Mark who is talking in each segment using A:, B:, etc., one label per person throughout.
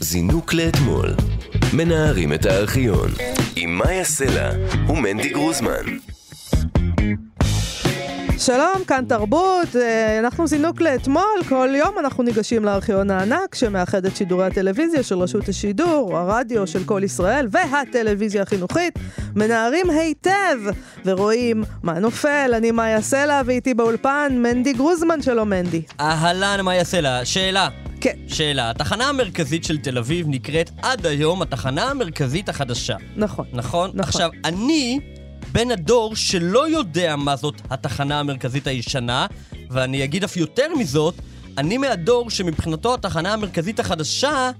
A: זינוק לאתמול. מנערים את הארכיון. עם מאיה סלע ומנדי גרוזמן.
B: שלום, כאן תרבות, אה, אנחנו זינוק לאתמול, כל יום אנחנו ניגשים לארכיון הענק שמאחד את שידורי הטלוויזיה של רשות השידור, הרדיו של כל ישראל והטלוויזיה החינוכית, מנערים היטב ורואים מה נופל, אני מאיה סלע ואיתי באולפן מנדי גרוזמן, שלום מנדי.
C: אהלן, מה יעשה לה? שאלה.
B: כן.
C: שאלה. התחנה המרכזית של תל אביב נקראת עד היום התחנה המרכזית החדשה.
B: נכון.
C: נכון?
B: נכון.
C: עכשיו, אני בן הדור שלא יודע מה זאת התחנה המרכזית הישנה, ואני אגיד אף יותר מזאת, אני מהדור שמבחינתו התחנה המרכזית החדשה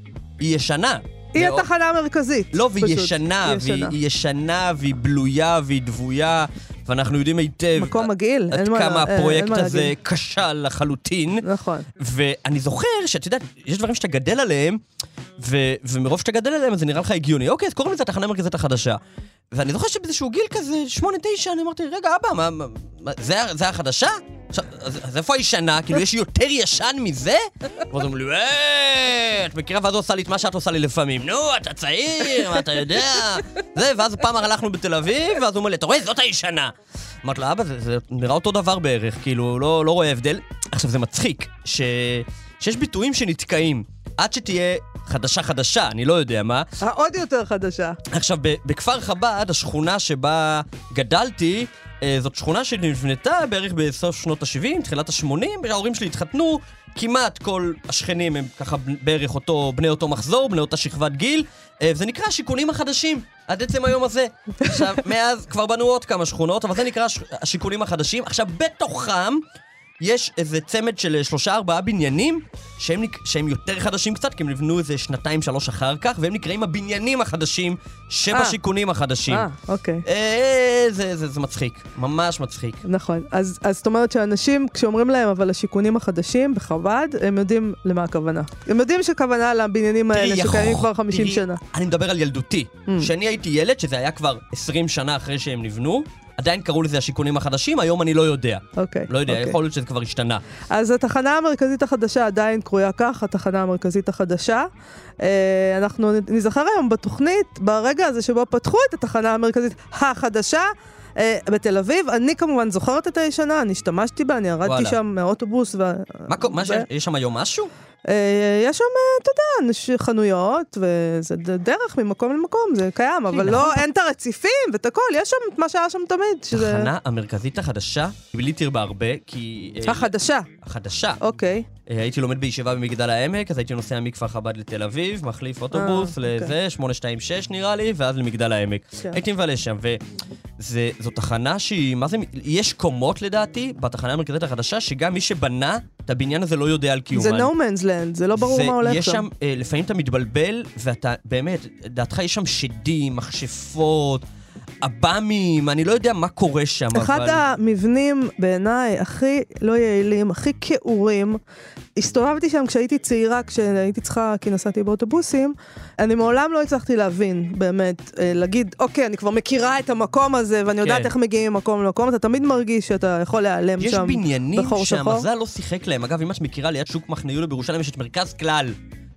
C: היא ישנה.
B: היא
C: מאוד.
B: התחנה המרכזית.
C: לא, והיא
B: פשוט.
C: ישנה,
B: היא
C: והיא- היא ישנה, והיא בלויה, והיא דבויה, ואנחנו יודעים היטב...
B: מקום מגעיל, אין
C: עד
B: מה- אה,
C: כמה
B: אין- אין
C: הפרויקט
B: מה
C: הזה כן.
B: להגיד.
C: כשל לחלוטין.
B: נכון.
C: ואני זוכר שאת יודעת, יש דברים שאתה גדל עליהם, ו- ומרוב שאתה גדל עליהם אז זה נראה לך הגיוני. אוקיי, אז קוראים לזה התחנה המרכזית החדשה. ואני זוכר שבאיזשהו גיל כזה, שמונה, תשע, אני אמרתי, רגע, אבא, מה, מה, מה זה, ה- זה החדשה? עכשיו, אז, אז איפה הישנה? כאילו, יש יותר ישן מזה? ואז אומרים לי, אה, את מכירה? ואז הוא עושה לי את מה שאת עושה לי לפעמים. נו, אתה צעיר, מה אתה יודע? זה, ואז פעם הלכנו בתל אביב, ואז הוא אומר לי, אתה רואה, זאת הישנה. אמרתי לו, אבא, זה, זה נראה אותו דבר בערך, כאילו, לא, לא רואה הבדל. עכשיו, זה מצחיק, ש... שיש ביטויים שנתקעים עד שתהיה חדשה חדשה, אני לא יודע מה.
B: העוד אה, יותר חדשה.
C: עכשיו, ב- בכפר חב"ד, השכונה שבה גדלתי, אה, זאת שכונה שנבנתה בערך בסוף שנות ה-70, תחילת ה-80, ההורים שלי התחתנו, כמעט כל השכנים הם ככה ב- בערך אותו, בני אותו מחזור, בני אותה שכבת גיל, אה, זה נקרא השיכונים החדשים, עד עצם היום הזה. עכשיו, מאז כבר בנו עוד כמה שכונות, אבל זה נקרא הש- השיכונים החדשים. עכשיו, בתוכם... יש איזה צמד של אה, שלושה ארבעה בניינים שהם, נק- שהם יותר חדשים קצת, כי הם נבנו איזה שנתיים שלוש אחר כך, והם נקראים הבניינים החדשים שבשיכונים החדשים.
B: אה, אוקיי.
C: אה, זה, זה, זה מצחיק, ממש מצחיק.
B: נכון. אז, אז זאת אומרת שאנשים, כשאומרים להם, אבל השיכונים החדשים בחב"ד, הם יודעים למה הכוונה. הם יודעים שהכוונה לבניינים האלה
C: תראי,
B: שקיימים כבר
C: יכול-
B: 50
C: תראי,
B: שנה. Mm.
C: אני מדבר על ילדותי. כשאני הייתי ילד, שזה היה כבר 20 שנה אחרי שהם נבנו, עדיין קראו לזה השיכונים החדשים, היום אני לא יודע.
B: אוקיי.
C: לא יודע,
B: אוקיי.
C: יכול להיות שזה כבר השתנה.
B: אז התחנה המרכזית החדשה עדיין קרויה כך, התחנה המרכזית החדשה. אה, אנחנו נזכר היום בתוכנית, ברגע הזה שבו פתחו את התחנה המרכזית החדשה. אה, בתל אביב, אני כמובן זוכרת את הישנה, אני השתמשתי בה, אני ירדתי
C: וואלה.
B: שם מהאוטובוס. ו...
C: מה, קו- מה, ש- יש שם היום משהו?
B: אה, יש שם, אה, אתה יודע, אנש- חנויות, וזה ד- דרך ממקום למקום, זה קיים, אבל
C: נכון.
B: לא, אין את הרציפים ואת הכל, יש שם את מה שהיה שם תמיד, שזה...
C: התחנה המרכזית החדשה, היא בלי תרבה הרבה, כי... אה,
B: החדשה,
C: החדשה.
B: אוקיי.
C: אה, הייתי לומד בישיבה במגדל העמק, אז הייתי נוסע מכפר חב"ד לתל אביב, מחליף אוטובוס
B: אוקיי.
C: לזה, 826 נראה לי, ואז למגדל העמק.
B: כן.
C: הייתי מבלה שם, וזו תחנה שהיא, מה זה, מ- יש קומות לדעתי, בתחנה המרכזית החדשה, שגם מי שבנה את הבניין הזה לא יודע על קיומן.
B: זה no man's land, זה לא ברור
C: זה-
B: מה הולך
C: יש
B: שם.
C: שם, אה, לפעמים אתה מתבלבל, ואתה, באמת, דעתך יש שם שדים, מכשפות, עב"מים, אני לא יודע מה קורה שם, אבל...
B: אחד המבנים בעיניי הכי לא יעילים, הכי כעורים. הסתובבתי שם כשהייתי צעירה, כשהייתי צריכה, כי נסעתי באוטובוסים, אני מעולם לא הצלחתי להבין, באמת, אה, להגיד, אוקיי, אני כבר מכירה את המקום הזה, ואני יודעת
C: כן.
B: איך מגיעים ממקום למקום, אתה תמיד מרגיש שאתה יכול להיעלם
C: יש
B: שם
C: בניינים
B: בחור שחור.
C: שהמזל לא שיחק להם. אגב, אם את מכירה, ליד שוק מחנה יהודה בירושלים יש את מרכז כלל.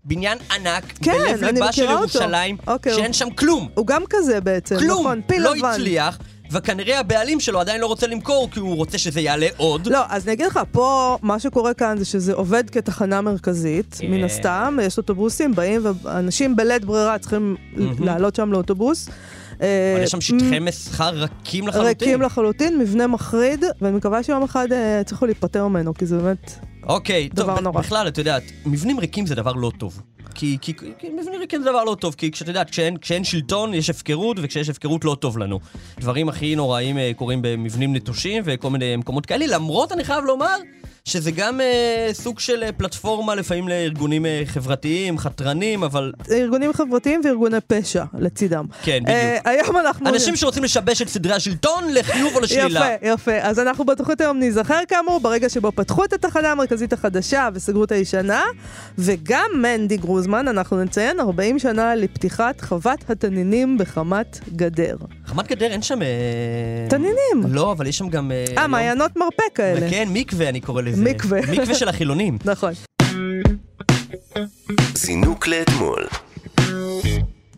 C: בניין ענק,
B: כן,
C: בלב
B: אני
C: ליבה של
B: מכירה אותו.
C: ירושלים,
B: אוקיי,
C: שאין
B: הוא-
C: שם כלום.
B: הוא גם כזה בעצם,
C: כלום.
B: נכון, פיל
C: לא
B: לבן.
C: הצליח, וכנראה הבעלים שלו עדיין לא רוצה למכור, כי הוא רוצה שזה יעלה עוד.
B: לא, אז אני אגיד לך, פה מה שקורה כאן זה שזה עובד כתחנה מרכזית,
C: כן.
B: מן הסתם, יש אוטובוסים, באים, ואנשים בלית ברירה צריכים
C: מהמם.
B: לעלות שם לאוטובוס. אה,
C: אבל יש שם שטחי מסחר רכים לחלוטין.
B: ריקים לחלוטין, מבנה מחריד, ואני מקווה שיום אחד אה, יצליחו להיפטר ממנו, כי זה באמת...
C: אוקיי, טוב,
B: דבר
C: ב-
B: נורא.
C: בכלל, את יודעת, מבנים ריקים זה דבר לא טוב. כי, כי, כי מבנים ריקים זה דבר לא טוב, כי כשאת יודעת, כשאין, כשאין שלטון יש הפקרות, וכשיש הפקרות לא טוב לנו. דברים הכי נוראים אה, קורים במבנים נטושים וכל מיני מקומות כאלה, למרות, אני חייב לומר, שזה גם אה, סוג של אה, פלטפורמה לפעמים לארגונים אה, חברתיים, חתרנים, אבל
B: ארגונים חברתיים וארגוני פשע לצידם.
C: כן,
B: אה,
C: בדיוק.
B: היום אנחנו...
C: אנשים שרוצים לשבש את סדרי השלטון לחיוב או לשלילה.
B: יפה, יפה. אז אנחנו בתוכנית היום ניזכר כאמור ברגע שבו פתחו את התחנה המרכזית החדשה וסגרו את הישנה, וגם מנדי גרוזמן, אנחנו נציין 40 שנה לפתיחת חוות התנינים בחמת גדר.
C: חמת גדר אין שם... אה,
B: תנינים.
C: לא, אבל יש שם גם... אה,
B: אה,
C: לא-
B: מעיינות מרפא כאלה.
C: כן, מקווה אני קורא לזה.
B: מקווה.
C: מקווה של החילונים.
B: נכון.
A: זינוק לאתמול.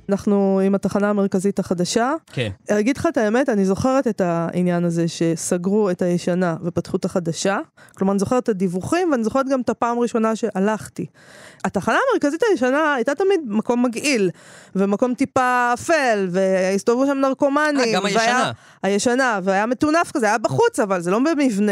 B: אנחנו עם התחנה המרכזית החדשה.
C: כן.
B: אה, אגיד לך את האמת, אני זוכרת את העניין הזה שסגרו את הישנה ופתחו את החדשה. כלומר, אני זוכרת את הדיווחים ואני זוכרת גם את הפעם הראשונה שהלכתי. התחנה המרכזית הישנה הייתה תמיד מקום מגעיל, ומקום טיפה אפל, והסתובבו שם נרקומנים.
C: אה, גם הישנה.
B: והיה, הישנה, והיה מטונף כזה, היה בחוץ, אבל זה לא במבנה.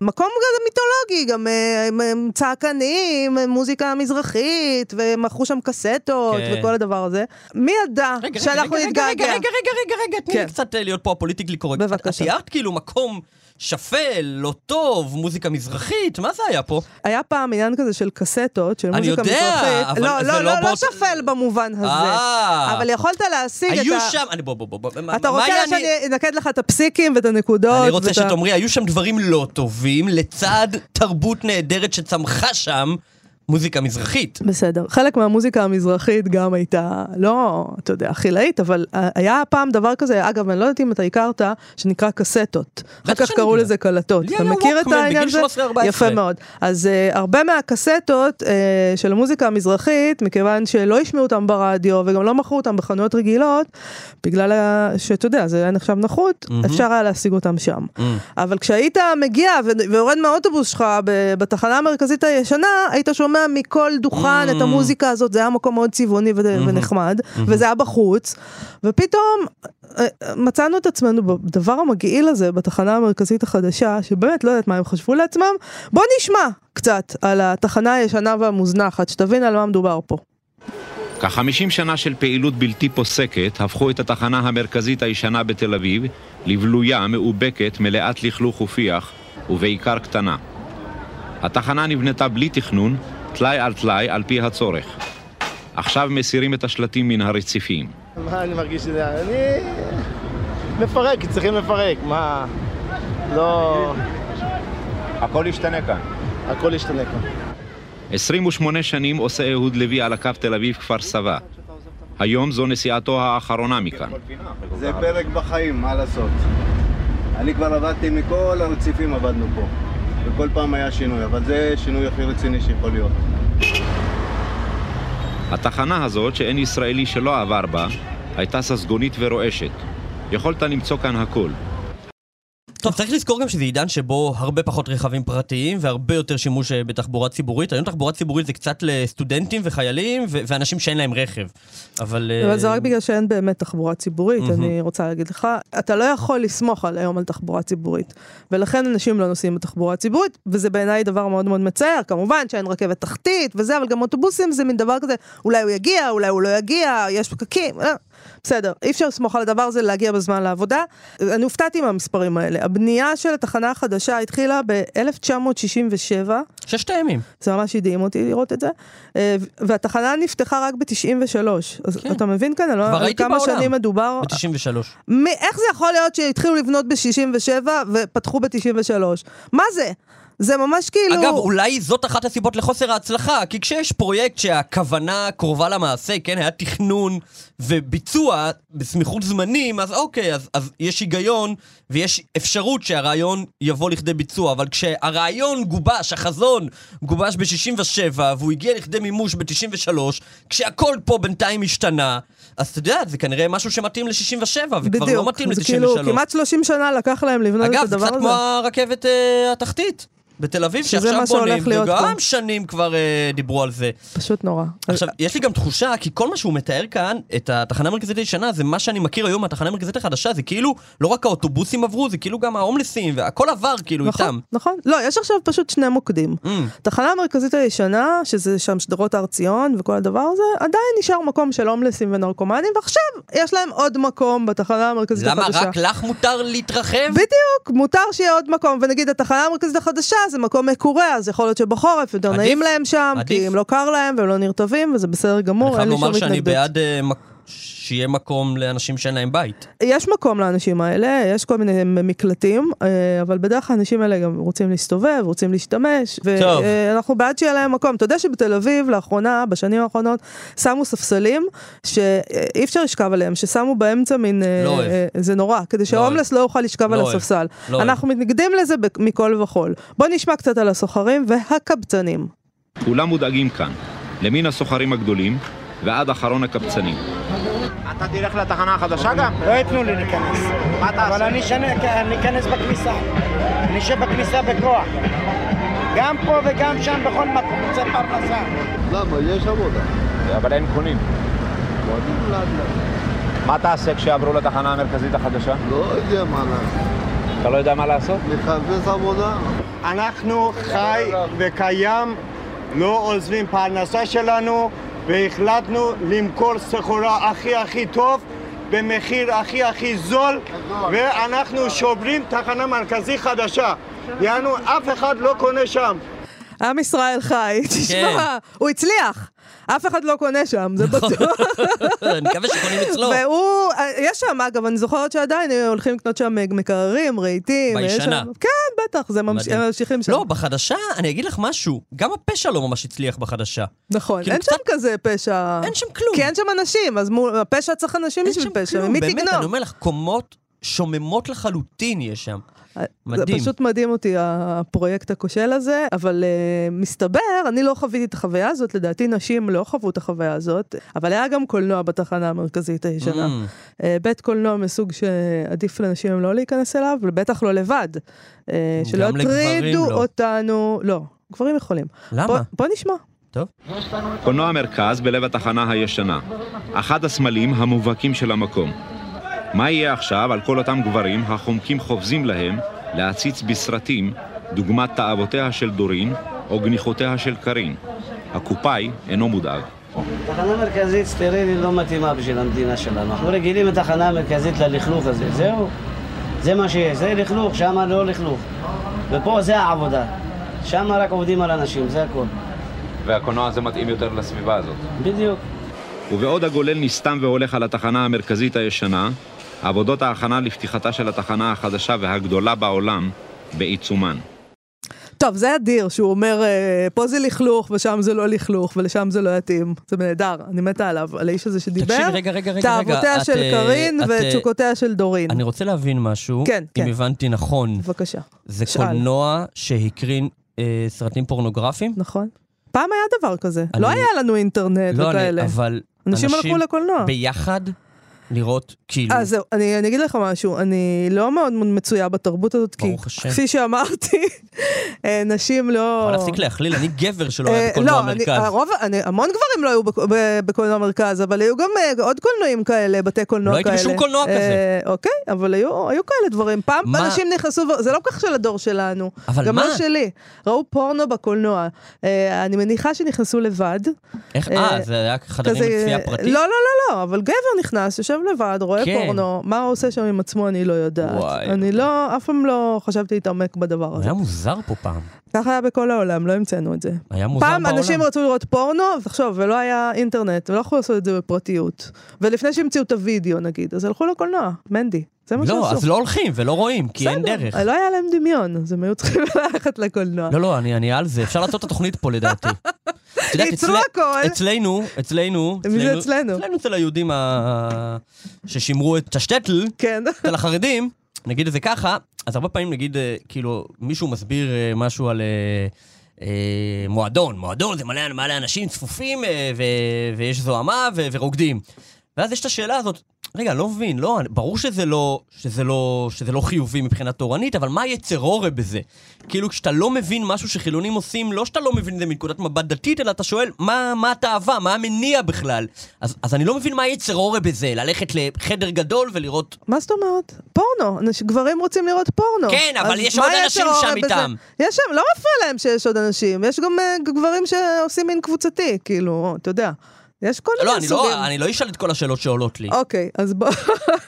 B: מקום גם מיתולוגי, גם אה, הם- הם צעקנים, מוזיקה מזרחית, ומכרו שם קסטות,
C: כן.
B: וכל הדבר הזה. מי ידע
C: רגע, רגע,
B: שאנחנו
C: רגע, רגע,
B: נתגעגע?
C: רגע, רגע, רגע, רגע, תני
B: כן.
C: לי קצת אה, להיות פה הפוליטיקלי קורקט.
B: בבקשה.
C: את תיארת כאילו מקום שפל, לא טוב, מוזיקה מזרחית, מה זה היה פה?
B: היה פעם עניין כזה של קסטות, של
C: אני
B: מוזיקה
C: יודע,
B: מזרחית.
C: אבל
B: לא,
C: זה
B: לא,
C: לא
B: לא, לא
C: באות-
B: שפל במובן הזה.
C: אה.
B: אבל יכולת להשיג את ה...
C: היו שם, אני בוא, בוא, בוא, בוא, מה-
B: אתה
C: מה
B: רוצה
C: היה אני-
B: שאני אנקד לך את הפסיקים ואת הנקודות?
C: אני רוצה
B: ואת ה-
C: שתאמרי, היו שם דברים לא טובים, לצד תרבות נהדרת שצמחה שם, מוזיקה מזרחית.
B: בסדר. חלק מהמוזיקה המזרחית גם הייתה, לא, אתה יודע, חילאית, אבל אה, היה פעם דבר כזה, אגב, אני לא יודעת אם אתה הכרת, שנקרא קסטות. אחר
C: בטח
B: כך
C: שאני
B: קראו
C: יודע.
B: לזה קלטות.
C: לי
B: אתה
C: היה
B: מכיר את
C: ווקמן
B: העניין הזה?
C: בגיל 13-14.
B: יפה מאוד. אז אה, הרבה מהקסטות אה, של המוזיקה המזרחית, מכיוון שלא השמיעו אותם ברדיו וגם לא מכרו אותם בחנויות רגילות, בגלל ה- שאתה יודע, זה היה נחשב נחות, אפשר היה להשיג אותם שם. אבל כשהיית מגיע ו- ויורד מהאוטובוס שלך ב- בתחנה המרכזית הישנה, היית שומע מכל דוכן את המוזיקה הזאת, זה היה מקום מאוד צבעוני ו- ונחמד, וזה היה בחוץ, ופתאום אה, אה, מצאנו את עצמנו בדבר המגעיל הזה בתחנה המרכזית החדשה, שבאמת לא יודעת מה הם חשבו לעצמם, בוא נשמע קצת על התחנה הישנה והמוזנחת, שתבין על מה מדובר פה.
D: כ-50 שנה של פעילות בלתי פוסקת הפכו את התחנה המרכזית הישנה בתל אביב לבלויה מאובקת מלאת לכלוך ופיח, ובעיקר קטנה. התחנה נבנתה בלי תכנון, טלאי על טלאי, על פי הצורך. עכשיו מסירים את השלטים מן הרציפים.
E: מה אני מרגיש שזה... אני... מפרק, כי צריכים לפרק, מה... לא...
D: הכל ישתנה כאן.
E: הכל ישתנה כאן.
D: 28 שנים עושה אהוד לוי על הקו תל אביב כפר סבא. היום זו נסיעתו האחרונה מכאן.
F: זה פרק בחיים, מה לעשות. אני כבר עבדתי מכל הרציפים עבדנו פה. וכל פעם היה שינוי, אבל זה שינוי הכי רציני שיכול להיות.
D: התחנה הזאת, שאין ישראלי שלא עבר בה, הייתה ססגונית ורועשת. יכולת למצוא כאן הכל.
C: טוב, צריך לזכור גם שזה עידן שבו הרבה פחות רכבים פרטיים והרבה יותר שימוש אה, בתחבורה ציבורית. היום תחבורה ציבורית זה קצת לסטודנטים וחיילים ו- ואנשים שאין להם רכב. אבל... אה,
B: אבל זה רק בגלל שאין באמת תחבורה ציבורית, אני רוצה להגיד לך, אתה לא יכול לסמוך על היום על תחבורה ציבורית, ולכן אנשים לא נוסעים בתחבורה ציבורית, וזה בעיניי דבר מאוד מאוד מצער, כמובן שאין רכבת תחתית וזה, אבל גם אוטובוסים זה מין דבר כזה, אולי הוא יגיע, אולי הוא לא יגיע, יש פקקים, אה, בסדר, אי אפשר לסמוך על הדבר הזה להגיע בזמן לעבודה. אני הופתעתי מהמספרים האלה, הבנייה של התחנה החדשה התחילה ב-1967,
C: אה, ששת הימים.
B: זה ממש הדהים אותי לראות את זה. אה, והתחנה נפתחה רק ב-93. אז
C: כן.
B: אתה מבין כאן על-
C: כבר
B: על
C: הייתי
B: כמה
C: בעולם.
B: שנים מדובר?
C: ב-93.
B: מ- איך זה יכול להיות שהתחילו לבנות ב-67 ופתחו ב-93? מה זה? זה ממש כאילו...
C: אגב, אולי זאת אחת הסיבות לחוסר ההצלחה, כי כשיש פרויקט שהכוונה קרובה למעשה, כן, היה תכנון וביצוע בסמיכות זמנים, אז אוקיי, אז, אז יש היגיון ויש אפשרות שהרעיון יבוא לכדי ביצוע, אבל כשהרעיון גובש, החזון גובש ב-67 והוא הגיע לכדי מימוש ב-93, כשהכל פה בינתיים השתנה, אז אתה יודע, זה כנראה משהו שמתאים ל-67, וכבר לא מתאים
B: זה כאילו
C: ל-93.
B: כמעט 30 שנה לקח להם לבנות לא, את
C: אגב, זה
B: הדבר הזה.
C: קצת כמו הרכבת אה, התחתית בתל אביב,
B: שזה
C: שעכשיו
B: מה
C: בונים,
B: שהולך להיות
C: וגם
B: פה.
C: שנים כבר אה, דיברו על זה.
B: פשוט נורא.
C: עכשיו, יש לי גם תחושה, כי כל מה שהוא מתאר כאן, את התחנה המרכזית הישנה, זה מה שאני מכיר היום מהתחנה המרכזית החדשה, זה כאילו, לא רק האוטובוסים עברו, זה כאילו גם ההומלסים, והכל עבר כאילו איתם.
B: נכון, נכון. לא, יש עכשיו פשוט שני מוקדים.
C: Mm.
B: התחנה המרכזית הישנה, שזה שם שדרות הר ציון וכל הדבר הזה, עדיין נשאר מקום של הומלסים ונרקומנים, ועכשיו יש להם עוד מקום בתחנה המרכזית
C: למה
B: החדשה.
C: רק לך מותר להתרחב?
B: בדיוק, מותר שיהיה עוד מקום, ונגיד התחנה המרכזית החדשה זה מקום מקורה, אז יכול להיות שבחורף יותר
C: עדיף,
B: נעים להם שם,
C: עדיף.
B: כי אם לא קר להם והם לא נרטבים, וזה בסדר
C: אני
B: גמור, אין
C: חייב
B: לי שום
C: לומר
B: התנגדות.
C: שאני בעד אה, מק- שיהיה מקום לאנשים שאין להם בית.
B: יש מקום לאנשים האלה, יש כל מיני מקלטים, אה, אבל בדרך כלל האנשים האלה גם רוצים להסתובב, רוצים להשתמש,
C: טוב.
B: ואנחנו בעד שיהיה להם מקום. אתה יודע שבתל אביב לאחרונה, בשנים האחרונות, שמו ספסלים שאי אפשר לשכב עליהם, ששמו באמצע מין... אה,
C: לא אוהב.
B: אה, זה נורא, כדי שההומלס לא יוכל לשכב
C: לא
B: על
C: אוהב.
B: הספסל.
C: לא אוהב.
B: אנחנו מתנגדים לזה בק- מכל וכול. בוא נשמע קצת על הסוחרים והקבצנים.
D: כולם מודאגים כאן. למן הסוחרים הגדולים ועד אחרון הקבצנים. אתה תלך לתחנה החדשה גם?
G: לא ייתנו לי להיכנס.
D: מה תעשה?
G: אבל אני אשנה- אני אכנס בכניסה. אני אשב בכניסה בכוח. גם פה וגם שם, בכל מקום, קצת פרנסה.
F: למה? יש עבודה.
D: אבל אין קונים.
F: אוהבים לאט לאט.
D: מה תעשה כשיעברו לתחנה המרכזית החדשה?
F: לא יודע מה לעשות.
D: אתה לא יודע מה לעשות?
F: לחפש עבודה.
G: אנחנו חי וקיים, לא עוזבים פרנסה שלנו, והחלטנו למכור סחורה הכי הכי טוב, במחיר הכי הכי זול, ואנחנו שוברים תחנה מרכזית חדשה. יענו, אף אחד לא קונה שם.
B: עם ישראל
C: כן.
B: חי, תשמע, הוא הצליח. אף אחד לא קונה שם, זה
C: נכון.
B: בטוח.
C: אה, אני מקווה שקונים אצלו.
B: והוא, אה, יש שם, אגב, אני זוכרת שעדיין הולכים לקנות שם מקררים, רהיטים. יש
C: בישנה.
B: שם- כן, בטח, זה ממש-
C: מדהים.
B: הם ממשיכים שם.
C: לא, בחדשה, אני אגיד לך משהו, גם הפשע לא ממש הצליח בחדשה.
B: נכון,
C: כאילו
B: אין
C: קצת-
B: שם כזה פשע.
C: אין שם כלום.
B: כי אין שם אנשים, אז מול- הפשע צריך אנשים
C: אין
B: בשביל
C: שם
B: פשע,
C: כלום,
B: ממי
C: באמת, אני
B: תגנוב?
C: אומר לך, קומות שוממות לחלוטין יש שם.
B: אה, זה
C: מדהים.
B: פשוט מדהים אותי, הפרויקט הכושל הזה, אבל uh, מסתבר, אני לא חוויתי את החוויה הזאת, לדעתי נשים לא חוו את החוויה הזאת, אבל היה גם קולנוע בתחנה המרכזית הישנה.
C: Mm.
B: Uh, בית קולנוע מסוג שעדיף לנשים לא להיכנס אליו, ובטח לא לבד. Uh, שלא
C: גם לגברים
B: יטרידו
C: לא.
B: אותנו, לא, גברים יכולים. בוא,
C: למה?
B: בוא נשמע.
D: קולנוע מרכז בלב התחנה הישנה. אחד הסמלים המובהקים של המקום. מה יהיה עכשיו על כל אותם גברים החומקים חובזים להם להציץ בסרטים דוגמת תאוותיה של דורין או גניחותיה של קארין? הקופאי אינו מודאג.
H: תחנה מרכזית סטרילית לא מתאימה בשביל המדינה שלנו. אנחנו רגילים לתחנה המרכזית ללכלוך הזה, זהו. זה מה שיש, זה לכלוך, שם לא לכלוך. ופה זה העבודה. שם רק עובדים על אנשים, זה הכל.
D: והקולנוע הזה מתאים יותר לסביבה הזאת.
H: בדיוק.
D: ובעוד הגולל נסתם והולך על התחנה המרכזית הישנה, עבודות ההכנה לפתיחתה של התחנה החדשה והגדולה בעולם בעיצומן.
B: טוב, זה אדיר שהוא אומר, אה, פה זה לכלוך ושם זה לא לכלוך ולשם זה לא יתאים. זה נהדר, אני מתה עליו, על האיש הזה שדיבר.
C: תקשיבי, רגע, רגע, רגע, רגע,
B: תאוותיה
C: את,
B: של
C: אה,
B: קארין
C: את, אה,
B: ותשוקותיה של דורין.
C: אני רוצה להבין משהו,
B: כן, כן.
C: אם הבנתי נכון.
B: בבקשה.
C: זה
B: שאל.
C: קולנוע שהקרין אה, סרטים פורנוגרפיים?
B: נכון. פעם היה דבר כזה,
C: אני-
B: לא היה לנו אינטרנט
C: לא, אני,
B: וכאלה.
C: אבל
B: אנשים הלכו לקולנוע.
C: ביחד לראות, כאילו,
B: אז אה, זהו, אני, אני אגיד לך משהו, אני לא מאוד מצויה בתרבות הזאת, כי
C: ברוך השם.
B: כפי שאמרתי, אה, נשים לא...
C: אבל להפסיק להכליל, אני גבר שלא
B: אה,
C: היה בקולנוע
B: אני-
C: מרכז.
B: הרוב, אני, המון גברים לא היו בק- ב- בקולנוע מרכז, אבל היו גם אה, עוד קולנועים כאלה, בתי קולנוע
C: לא
B: כאלה.
C: הייתי בשום קולנוע
B: אה,
C: כזה.
B: אוקיי, אבל היו, היו כאלה דברים. פעם
C: מה-
B: אנשים נכנסו, ו- זה לא כל כך של הדור שלנו.
C: אבל
B: גם
C: מה?
B: לא שלי. ראו פורנו בקולנוע. אה, אני מניחה שנכנסו לבד.
C: איך, אה,
B: אה,
C: זה היה חדרים
B: כזה-
C: לצפייה פרטית?
B: לא, לא, לא, לא, אבל גבר נכנס, יושב לבד, רואה
C: כן.
B: פורנו, מה הוא עושה שם עם עצמו אני לא יודעת.
C: וואי. אוקיי.
B: אני לא, אף פעם לא חשבתי להתעמק בדבר הזה.
C: היה מוזר פה פעם.
B: ככה היה בכל העולם, לא המצאנו את זה.
C: היה מוזר
B: פעם
C: בעולם.
B: אנשים רצו לראות פורנו, תחשוב, ולא היה אינטרנט, ולא יכלו לעשות את זה בפרטיות. ולפני שהמציאו את הוידאו נגיד, אז הלכו לקולנוע, מנדי. זה מה שעשו.
C: לא, אז לא הולכים ולא רואים, כי אין
B: בסדר,
C: דרך.
B: לא היה להם דמיון, אז הם היו צריכים ללכת לקולנוע.
C: לא, לא, אני אני על זה, אפשר לעשות את התוכנית פה לדעתי. את יודעת,
B: ייצרו
C: אצל-
B: הכל.
C: אצלנו, אצלנו,
B: מי זה אצלנו?
C: אצלנו אצל היהודים ה- ששימרו את השטטל,
B: כן.
C: אצל החרדים, נגיד את זה ככה, אז הרבה פעמים נגיד, אה, כאילו, מישהו מסביר אה, משהו על אה, אה, מועדון, מועדון זה מלא, מלא אנשים צפופים אה, ו, ויש זוהמה ו, ורוקדים. ואז יש את השאלה הזאת, רגע, לא מבין, לא, אני- ברור שזה לא, שזה לא, שזה לא חיובי מבחינה תורנית, אבל מה יצר הורה בזה? כאילו, כשאתה לא מבין משהו שחילונים עושים, לא שאתה לא מבין את זה מנקודת מבט דתית, אלא אתה שואל, מה, מה התאווה, מה המניע בכלל? אז, אז אני לא מבין מה יצר הורה בזה, ללכת לחדר גדול ולראות
B: מה זאת אומרת? פורנו, אנש- גברים רוצים לראות פורנו.
C: כן, אבל
B: אז
C: יש
B: מה
C: עוד
B: יצר
C: אנשים
B: ההורה
C: שם
B: בזה?
C: איתם.
B: יש שם, לא מפריע להם שיש עוד אנשים, יש גם אה, גברים שעושים מין קבוצתי, כאילו, אתה יודע. יש כל
C: לא,
B: מיני
C: אני
B: סוגים.
C: לא, אני לא אשאל את כל השאלות שעולות לי.
B: אוקיי, אז בוא,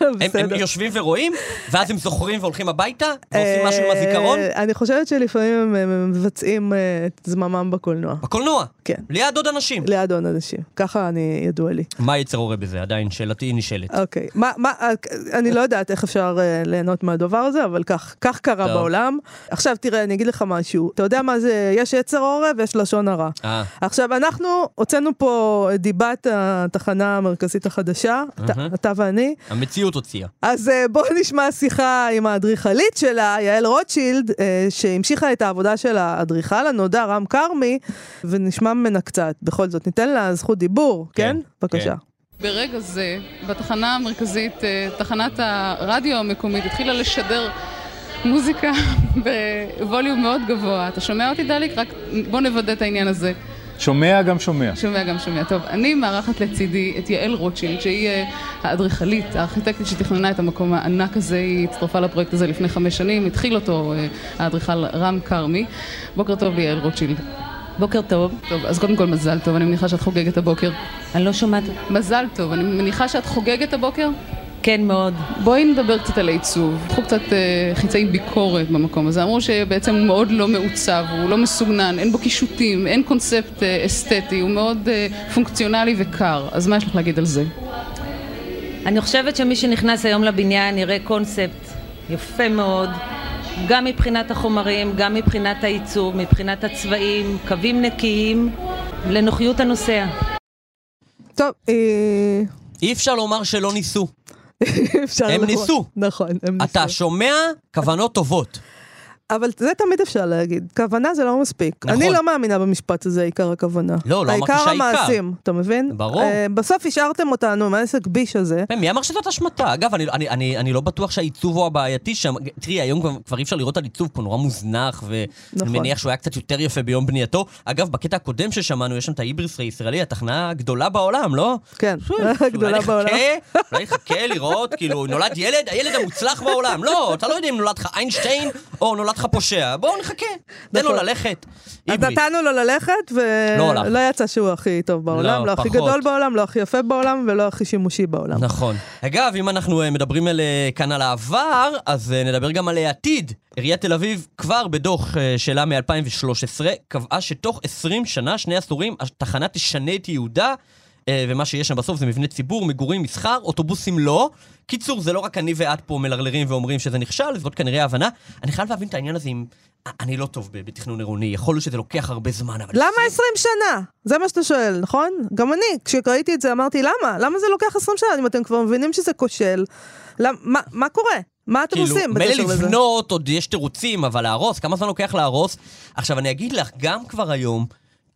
C: הם,
B: בסדר.
C: הם יושבים ורואים, ואז הם זוכרים והולכים הביתה, ועושים משהו עם
B: אה,
C: הזיכרון,
B: אני חושבת שלפעמים הם- הם מבצעים אה, את זממם בקולנוע.
C: בקולנוע.
B: כן.
C: ליד עוד אנשים.
B: ליד עוד אנשים, ככה אני ידוע לי.
C: מה יצר הורה בזה? עדיין שאלתי היא נשאלת.
B: אוקיי, מה, מה, אני לא יודעת איך אפשר אה, ליהנות מהדבר הזה, אבל כך, כך קרה
C: טוב.
B: בעולם. עכשיו תראה, אני אגיד לך משהו, אתה יודע מה זה, יש יצר עורף ויש לשון הרע.
C: אה,
B: עכשיו, אנחנו הוצאנו פה, דיב... ליבת התחנה המרכזית החדשה, אתה,
C: אהה.
B: אתה ואני.
C: המציאות הוציאה.
B: אז אה, בואו נשמע שיחה עם האדריכלית שלה, יעל רוטשילד, אה, שהמשיכה את העבודה של האדריכל הנודע, רם כרמי, ונשמע ממנה קצת. בכל זאת, ניתן לה זכות דיבור, כן?
C: כן,
B: בבקשה.
C: כן.
I: ברגע זה, בתחנה המרכזית, אה, תחנת הרדיו המקומית התחילה לשדר מוזיקה בווליום מאוד גבוה. אתה שומע אותי, דליק? רק בוא נוודא את העניין הזה.
J: שומע גם שומע.
I: שומע גם שומע. טוב, אני מארחת לצידי את יעל רוטשילד, שהיא אה, האדריכלית, הארכיטקטית שתכננה את המקום הענק הזה, היא הצטרפה לפרויקט הזה לפני חמש שנים, התחיל אותו אה, האדריכל רם כרמי. בוקר טוב ליעל רוטשילד.
K: בוקר טוב,
I: טוב, אז קודם כל מזל טוב, אני מניחה שאת חוגגת הבוקר.
K: אני לא שומעת.
I: מזל טוב, אני מניחה שאת חוגגת הבוקר?
K: כן מאוד.
I: בואי נדבר קצת על העיצוב. קחו קצת אה, חיצי ביקורת במקום הזה. אמרו שבעצם הוא מאוד לא מעוצב, הוא לא מסוגנן, אין בו קישוטים, אין קונספט אה, אסתטי, הוא מאוד אה, פונקציונלי וקר. אז מה יש לך להגיד על זה?
K: אני חושבת שמי שנכנס היום לבניין יראה קונספט יפה מאוד, גם מבחינת החומרים, גם מבחינת העיצוב, מבחינת הצבעים, קווים נקיים, לנוחיות הנוסע.
B: טוב, אה,
C: אי אפשר לומר שלא ניסו.
B: אפשר...
C: הם
B: נכון.
C: ניסו.
B: נכון, הם ניסו.
C: אתה שומע כוונות טובות.
B: אבל זה תמיד אפשר להגיד, כוונה זה לא מספיק.
C: נכון.
B: אני לא מאמינה במשפט הזה, עיקר הכוונה.
C: לא, לא אמרתי שהעיקר.
B: העיקר המעשים, אתה מבין?
C: ברור.
B: אה, בסוף השארתם אותנו עם העסק ביש הזה.
C: אה, מי אמר שזאת אשמתה? אגב, אני, אני, אני, אני לא בטוח שהעיצוב הוא הבעייתי שם. תראי, היום כבר, כבר אי אפשר לראות על עיצוב פה, נורא מוזנח, ואני
B: נכון.
C: מניח שהוא היה קצת יותר יפה ביום בנייתו. אגב, בקטע הקודם ששמענו, יש שם את ההיבריס הישראלי, התחנה הגדולה בעולם, לא?
B: כן,
C: אולי
B: הגדולה
C: נחכה,
B: בעולם.
C: אולי נחכה לראות, כאילו, נולד ילד, הילד המוצלח בעולם. לא, אתה לא יודע אם נולד לך איינשטיין, או נולד לך פושע. בואו נחכה, תן לו
B: נכון.
C: ללכת.
B: אז
C: היבריס.
B: נתנו לו ללכת,
C: לא הלך.
B: ולא יצא שהוא הכי טוב בעולם,
C: לא,
B: לא הכי
C: פחות.
B: גדול בעולם, לא הכי יפה בעולם, ולא הכי שימושי בעולם.
C: נכון. אגב, אם אנחנו אה, מדברים על, אה, כאן על העבר, אז אה, נדבר גם על העתיד. עיריית תל אביב כבר בדוח אה, שלה מ-2013 קבעה שתוך 20 שנה, שני עשורים, התחנה תשנה את ייעודה. אה, ומה שיש שם בסוף זה מבני ציבור, מגורים, מסחר, אוטובוסים לא. קיצור, זה לא רק אני ואת פה מלרלרים ואומרים שזה נכשל, זאת כנראה ההבנה. אני חייב להבין את העניין הזה עם... אני לא טוב ב- בתכנון עירוני, יכול להיות שזה לוקח הרבה זמן, אבל...
B: למה 20 שנה? זה מה שאתה שואל, נכון? גם אני, כשראיתי את זה אמרתי, למה? למה זה לוקח 20 שנה אם אתם כבר מבינים שזה כושל? למ- מה- מה קורה? מה אתם
C: כאילו,
B: עושים
C: מילא
B: בקשר לזה?
C: לבנות, עוד יש תירוצים, אבל להרוס, כמה זמן לוקח להרוס? עכשיו, אני אגיד לך, גם כבר היום,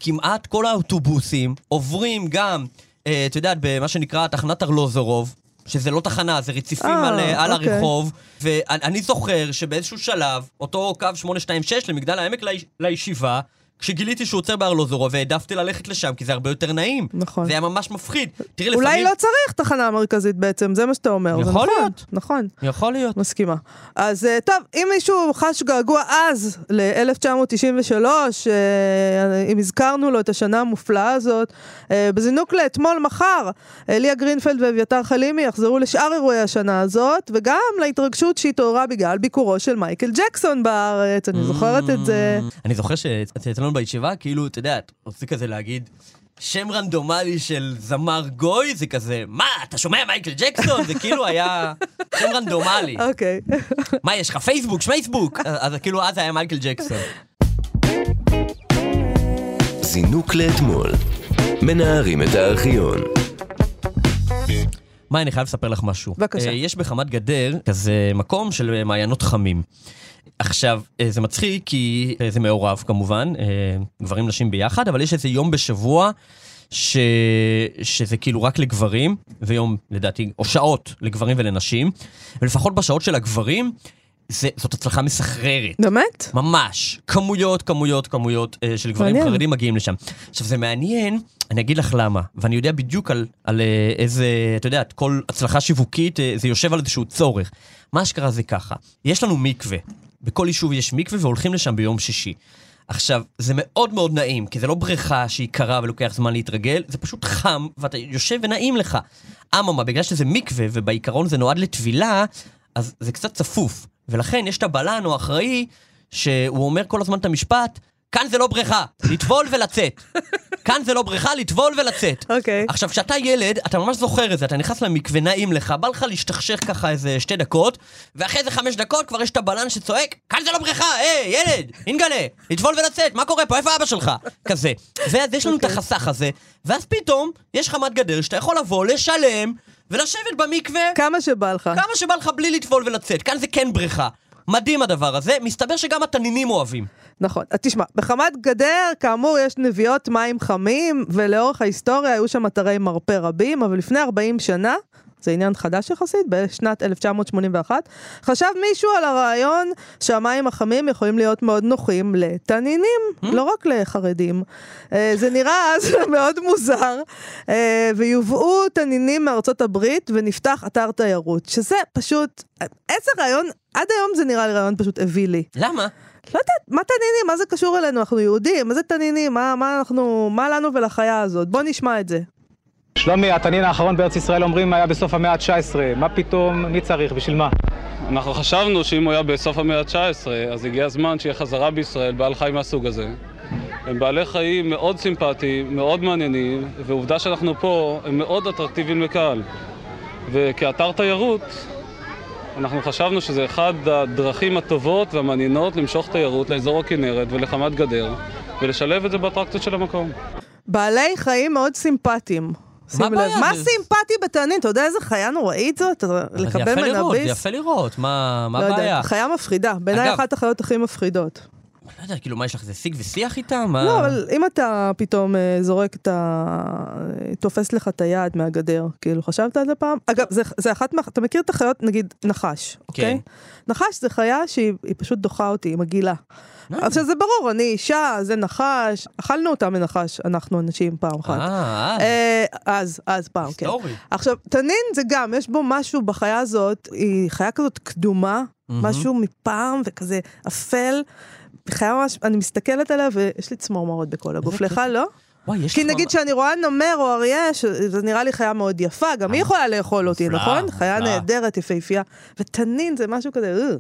C: כמעט כל האוטובוסים עוברים גם, אה, את יודעת, במה שנקרא תחנת ארלוזורוב. שזה לא תחנה, זה רציפים
B: אה,
C: על, אה, על
B: אוקיי.
C: הרחוב. ואני אני זוכר שבאיזשהו שלב, אותו קו 826 למגדל העמק ליש, לישיבה, כשגיליתי שהוא עוצר בארלוזורוב, העדפתי ללכת לשם, כי זה הרבה יותר נעים.
B: נכון.
C: זה היה ממש מפחיד. תראי,
B: אולי
C: לפעמים...
B: לא צריך תחנה מרכזית בעצם, זה מה שאתה אומר. זה
C: יכול
B: נכון,
C: להיות.
B: נכון.
C: יכול להיות.
B: מסכימה. אז אה, טוב, אם מישהו חש געגוע אז ל-1993, אה, אם הזכרנו לו את השנה המופלאה הזאת, אה, בזינוק לאתמול מחר, אליה גרינפלד ואביתר חלימי יחזרו לשאר אירועי השנה הזאת, וגם להתרגשות שהתעוררה בגלל ביקורו של מייקל ג'קסון בארץ, אני זוכרת את זה.
C: אני זוכר שאצלנו בישיבה, כאילו, אתה יודע, רוצים כזה להגיד... שם רנדומלי של זמר גוי זה כזה, מה, אתה שומע מייקל ג'קסון? זה כאילו היה שם רנדומלי.
B: אוקיי.
C: מה, יש לך פייסבוק, שמייסבוק? אז אז כאילו אז היה מייקל ג'קסון.
A: זינוק לאתמול. מנערים את הארכיון.
C: מאי, אני חייב לספר לך משהו.
B: בבקשה.
C: אה, יש בחמת גדר כזה מקום של אה, מעיינות חמים. עכשיו, אה, זה מצחיק כי אה, זה מעורב כמובן, אה, גברים נשים ביחד, אבל יש איזה יום בשבוע ש... שזה כאילו רק לגברים, ויום לדעתי, או שעות לגברים ולנשים, ולפחות בשעות של הגברים, זה, זאת הצלחה מסחררת.
B: באמת?
C: ממש. כמויות, כמויות, כמויות אה, של גברים
B: מעניין.
C: חרדים מגיעים לשם. עכשיו, זה מעניין, אני אגיד לך למה, ואני יודע בדיוק על, על אה, איזה, אתה יודע, כל הצלחה שיווקית, אה, זה יושב על איזשהו צורך. מה שקרה זה ככה, יש לנו מקווה. בכל יישוב יש מקווה והולכים לשם ביום שישי. עכשיו, זה מאוד מאוד נעים, כי זה לא בריכה שהיא קרה ולוקח זמן להתרגל, זה פשוט חם, ואתה יושב ונעים לך. אממה, בגלל שזה מקווה, ובעיקרון זה נועד לטבילה, אז זה קצת צפוף. ולכן יש את הבלן או האחראי, שהוא אומר כל הזמן את המשפט, כאן זה לא בריכה, לטבול ולצאת. כאן זה לא בריכה, לטבול ולצאת.
B: אוקיי.
C: עכשיו, כשאתה ילד, אתה ממש זוכר את זה, אתה נכנס למקווה, נעים לך, בא לך להשתכשך ככה איזה שתי דקות, ואחרי איזה חמש דקות כבר יש את הבלן שצועק, כאן זה לא בריכה, היי, ילד, אינגלה, לטבול ולצאת, מה קורה פה, איפה אבא שלך? כזה. ואז יש לנו את
B: אוקיי.
C: החסך הזה, ואז פתאום יש לך מד גדר שאתה יכול לבוא, לשלם, ולשבת במקווה.
B: כמה שבא לך.
C: כמה שבא לך בלי לטבול ולצאת, כאן זה כן בריכה. מדהים הדבר הזה, מסתבר שגם התנינים אוהבים.
B: נכון. אז תשמע, בחמת גדר, כאמור, יש נביאות מים חמים, ולאורך ההיסטוריה היו שם אתרי מרפא רבים, אבל לפני 40 שנה, זה עניין חדש יחסית, בשנת 1981, חשב מישהו על הרעיון שהמים החמים יכולים להיות מאוד נוחים לתנינים, לא רק לחרדים. אה, זה נראה אז מאוד מוזר, אה, ויובאו תנינים מארצות הברית ונפתח אתר תיירות, שזה פשוט, אה, איזה רעיון, עד היום זה נראה לי רעיון פשוט אווילי.
C: למה?
B: לא יודעת, מה תנינים? מה זה קשור אלינו? אנחנו יהודים, מה זה תנינים? מה, מה אנחנו, מה לנו ולחיה הזאת? בוא נשמע את זה.
J: שלומי, התנין האחרון בארץ ישראל אומרים היה בסוף המאה ה-19, מה פתאום, מי צריך, בשביל מה?
L: אנחנו חשבנו שאם הוא היה בסוף המאה ה-19, אז הגיע הזמן שיהיה חזרה בישראל בעל חי מהסוג הזה. הם בעלי חיים מאוד סימפטיים, מאוד מעניינים, ועובדה שאנחנו פה, הם מאוד אטרקטיביים לקהל. וכאתר תיירות, אנחנו חשבנו שזה אחד הדרכים הטובות והמעניינות למשוך תיירות לאזור הכנרת ולחמת גדר, ולשלב את זה באטרקציות של המקום.
B: בעלי חיים מאוד סימפטיים. שים לב,
C: הבעיה?
B: מה
C: זה-
B: סימפטי בתנין? אתה יודע איזה חיה נוראית זאת?
C: זה
B: לקבל
C: יפה לראות, זה
B: מנביס?
C: יפה לראות, מה מה
B: לא יודע,
C: הבעיה?
B: חיה מפחידה. בעיניי
C: אגב-
B: אחת החיות הכי מפחידות.
C: לא יודע, כאילו, מה יש לך, זה שיג ושיח איתם? מה-
B: לא, אבל אם אתה פתאום אה, זורק את ה... אה, תופס לך את היד מהגדר, כאילו, חשבת על זה פעם? אגב, זה- זה אחת מה... אתה מכיר את החיות, נגיד,
C: כן.
B: נחש, אוקיי? נחש זה חיה שהיא היא פשוט דוחה אותי, היא מגעילה.
C: אה,
B: עכשיו זה ברור, אני אישה, זה נחש, אכלנו אותה מנחש, אנחנו אנשים פעם אחת.
C: אה, אוקיי.
B: אה, אז, אז פעם, כן.
C: היסטורי.
B: עכשיו, תנין זה גם, יש בו משהו בחיה הזאת, היא חיה כזאת קדומה,
C: מהמם.
B: משהו מפעם וכזה אפל. חיה ממש, אני מסתכלת עליה ויש לי צמרמורות בכל הגוף. לך לא?
C: וואי, יש
B: כי
C: לך
B: נגיד
C: ממש-
B: שאני רואה נמר או אריה, ש- זה נראה לי חיה מאוד יפה, גם
C: אה,
B: היא יכולה לאכול אותי,
C: מופלאה,
B: נכון? חיה
C: מופלאה.
B: נהדרת, יפהפייה. ותנין זה משהו כזה, אה.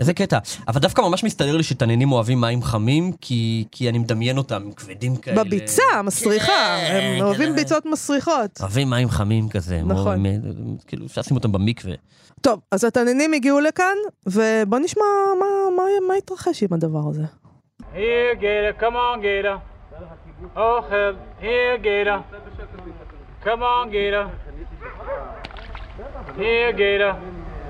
C: איזה קטע. אבל דווקא ממש מסתדר לי שתנינים אוהבים מים חמים, כי כי אני מדמיין אותם הם כבדים כאלה.
B: בביצה, מסריחה, הם
C: כן,
B: אוהבים
C: כן.
B: ביצות מסריחות.
C: אוהבים מים חמים כזה. הם
B: נכון.
C: אוהבים- כאילו, אפשר לשים אותם במקווה.
B: טוב, אז התנינים הגיעו לכאן, ובוא נשמע מה- מה- מה התרחש עם הדבר הזה.
M: Here, Gator. Come on, Gator. Oh, hell. Here, Gator. Come on, Gator. Here, Gator.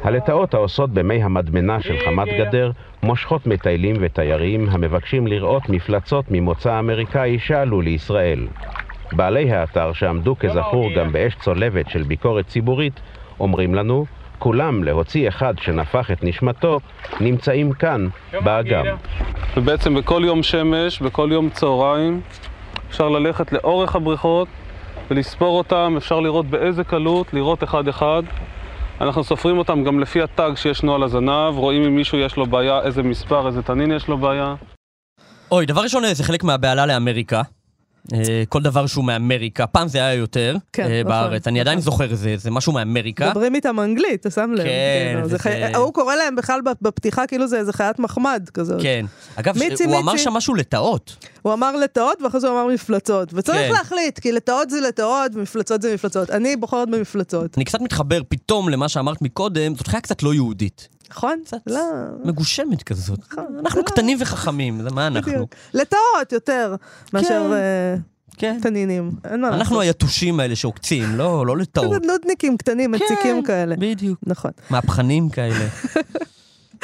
N: הלטאות העושות במי המדמנה של חמת גדר מושכות מטיילים ותיירים המבקשים לראות מפלצות ממוצא אמריקאי שעלו לישראל. בעלי האתר שעמדו כזכור גם באש צולבת של ביקורת ציבורית אומרים לנו, כולם להוציא אחד שנפח את נשמתו, נמצאים כאן, באגם.
L: ובעצם בכל יום שמש, בכל יום צהריים, אפשר ללכת לאורך הבריכות ולספור אותם, אפשר לראות באיזה קלות, לראות אחד-אחד. אנחנו סופרים אותם גם לפי הטאג שישנו על הזנב, רואים אם מישהו יש לו בעיה, איזה מספר, איזה תנין יש לו בעיה.
C: אוי, דבר ראשון, אה, זה חלק מהבהלה לאמריקה. אה, כל דבר שהוא מאמריקה, פעם זה היה יותר
B: כן,
C: אה,
B: נכון,
C: בארץ, אני עדיין זוכר את זה, זה משהו מאמריקה.
B: מדברים איתם אנגלית, אתה שם לב.
C: כן,
B: כאילו, זה
C: וזה-
B: חי- ההוא קורא להם בכלל בפתיחה כאילו זה איזה חיית מחמד כזאת.
C: כן. אגב, ש-
B: מיצי,
C: הוא אמר
B: מיצי.
C: שם משהו לטאות.
B: הוא אמר לטאות ואחרי זה הוא אמר מפלצות. וצריך
C: כן.
B: להחליט, כי לטאות זה לטאות ומפלצות זה מפלצות. אני בוחרת במפלצות,
C: אני קצת מתחבר פתאום למה שאמרת מקודם, זאת חיה קצת לא יהודית.
B: נכון? לא,
C: מגושמת כזאת. אנחנו קטנים וחכמים, זה מה אנחנו?
B: נכון,
C: כן.
B: בדיוק. לטאות יותר מאשר אה, תנינים. אין מה
C: אנחנו
B: לעשות.
C: היתושים האלה שעוקצים, לא לא לטעות.
B: נודניקים קטנים,
C: כן.
B: מציקים כאלה.
C: בדיוק.
B: נכון.
C: מהפכנים כאלה.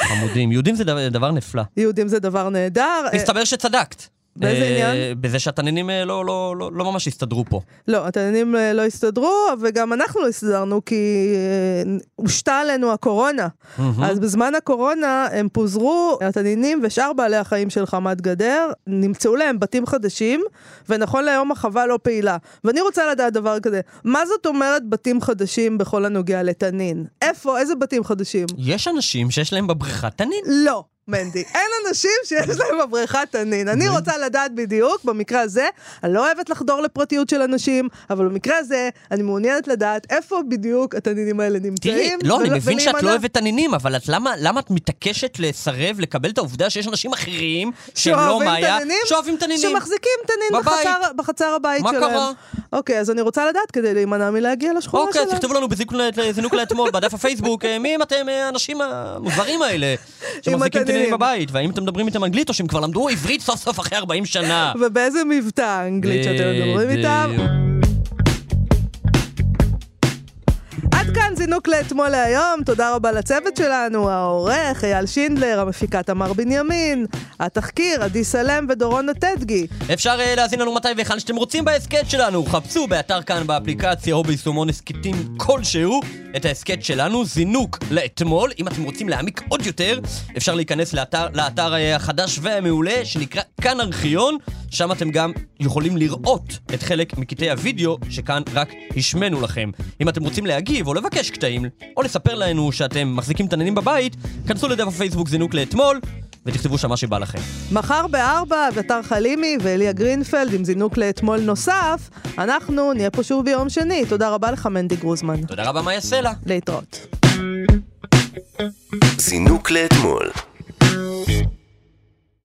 C: חמודים. יהודים זה דבר- דבר נפלא.
B: יהודים זה דבר נהדר. אה,
C: מסתבר שצדקת.
B: באיזה
C: אה,
B: עניין?
C: בזה שהתננים אה, לא- לא לא- לא ממש הסתדרו פה.
B: לא, התננים אה, לא הסתדרו, וגם אנחנו לא הסתדרנו, כי אה, הושתה עלינו הקורונה.
C: מהמם.
B: אז בזמן הקורונה הם פוזרו, התנינים ושאר בעלי החיים של חמת גדר, נמצאו להם בתים חדשים, ונכון להיום החווה לא פעילה. ואני רוצה לדעת דבר כזה, מה זאת אומרת בתים חדשים בכל הנוגע לתנין? איפה, איזה בתים חדשים?
C: יש אנשים שיש להם בבריכה תנין.
B: לא. מנדי. אין אנשים שיש להם בבריכה תנין. אני
C: אוקיי.
B: רוצה לדעת בדיוק, במקרה הזה, אני לא אוהבת לחדור לפרטיות של אנשים, אבל במקרה הזה, אני מעוניינת לדעת איפה בדיוק התנינים האלה
C: תראי,
B: נמצאים.
C: לא, אני
B: ול-
C: מבין שאת לא
B: ולהימנע.
C: אוהבת תנינים, אבל את למה למה את מתעקשת לסרב לקבל את העובדה שיש אנשים אחרים שהם לא
B: שאוהבים
C: מאיה,
B: תנינים?
C: שאוהבים תנינים?
B: שמחזיקים תנין
C: בבית.
B: בחצר- בחצר הבית
C: מה
B: שלהם.
C: קרה?
B: אוקיי, אז אני רוצה לדעת כדי להימנע מלהגיע לשכונה
C: אוקיי,
B: שלהם.
C: אז תכתבו לנו בזינוק לאתמול, בדף הפייסבוק, אה, מי הם אתם אה, האנשים המוזרים האלה, שמחזיקים תנינים
B: התנינים.
C: בבית, והאם אתם מדברים איתם אנגלית או שהם כבר למדו עברית סוף סוף אחרי 40 שנה.
B: ובאיזה מבטא אנגלית שאתם מדברים איתם.
C: בדיוק.
B: עד כאן זינוק לאתמול להיום, תודה רבה לצוות שלנו, העורך אייל שינדלר, המפיקה תמר בנימין, התחקיר עדי סלם ודורון אטדגי.
C: אפשר אה, להאזין לנו מתי והיכן שאתם רוצים בהסכת שלנו. חפשו באתר כאן באפליקציה או ביישומון הסכתים כלשהו את ההסכת שלנו, זינוק לאתמול. אם אתם רוצים להעמיק עוד יותר, אפשר להיכנס לאתר, לאתר אה, החדש והמעולה שנקרא כאן ארכיון, שם אתם גם יכולים לראות את חלק מקטעי הוידאו שכאן רק השמנו לכם. אם אתם רוצים להגיב או לבקש קטעים, או לספר לנו שאתם מחזיקים תננים בבית, כנסו לדף הפייסבוק זינוק לאתמול ותכתבו שם מה שבא לכם.
B: מחר בארבע, אביתר חלימי ואליה גרינפלד עם זינוק לאתמול נוסף, אנחנו נהיה פה שוב ביום שני. תודה רבה לך, מנדי גרוזמן.
C: תודה רבה, מאיה סלע.
B: להתראות.
A: זינוק לאתמול,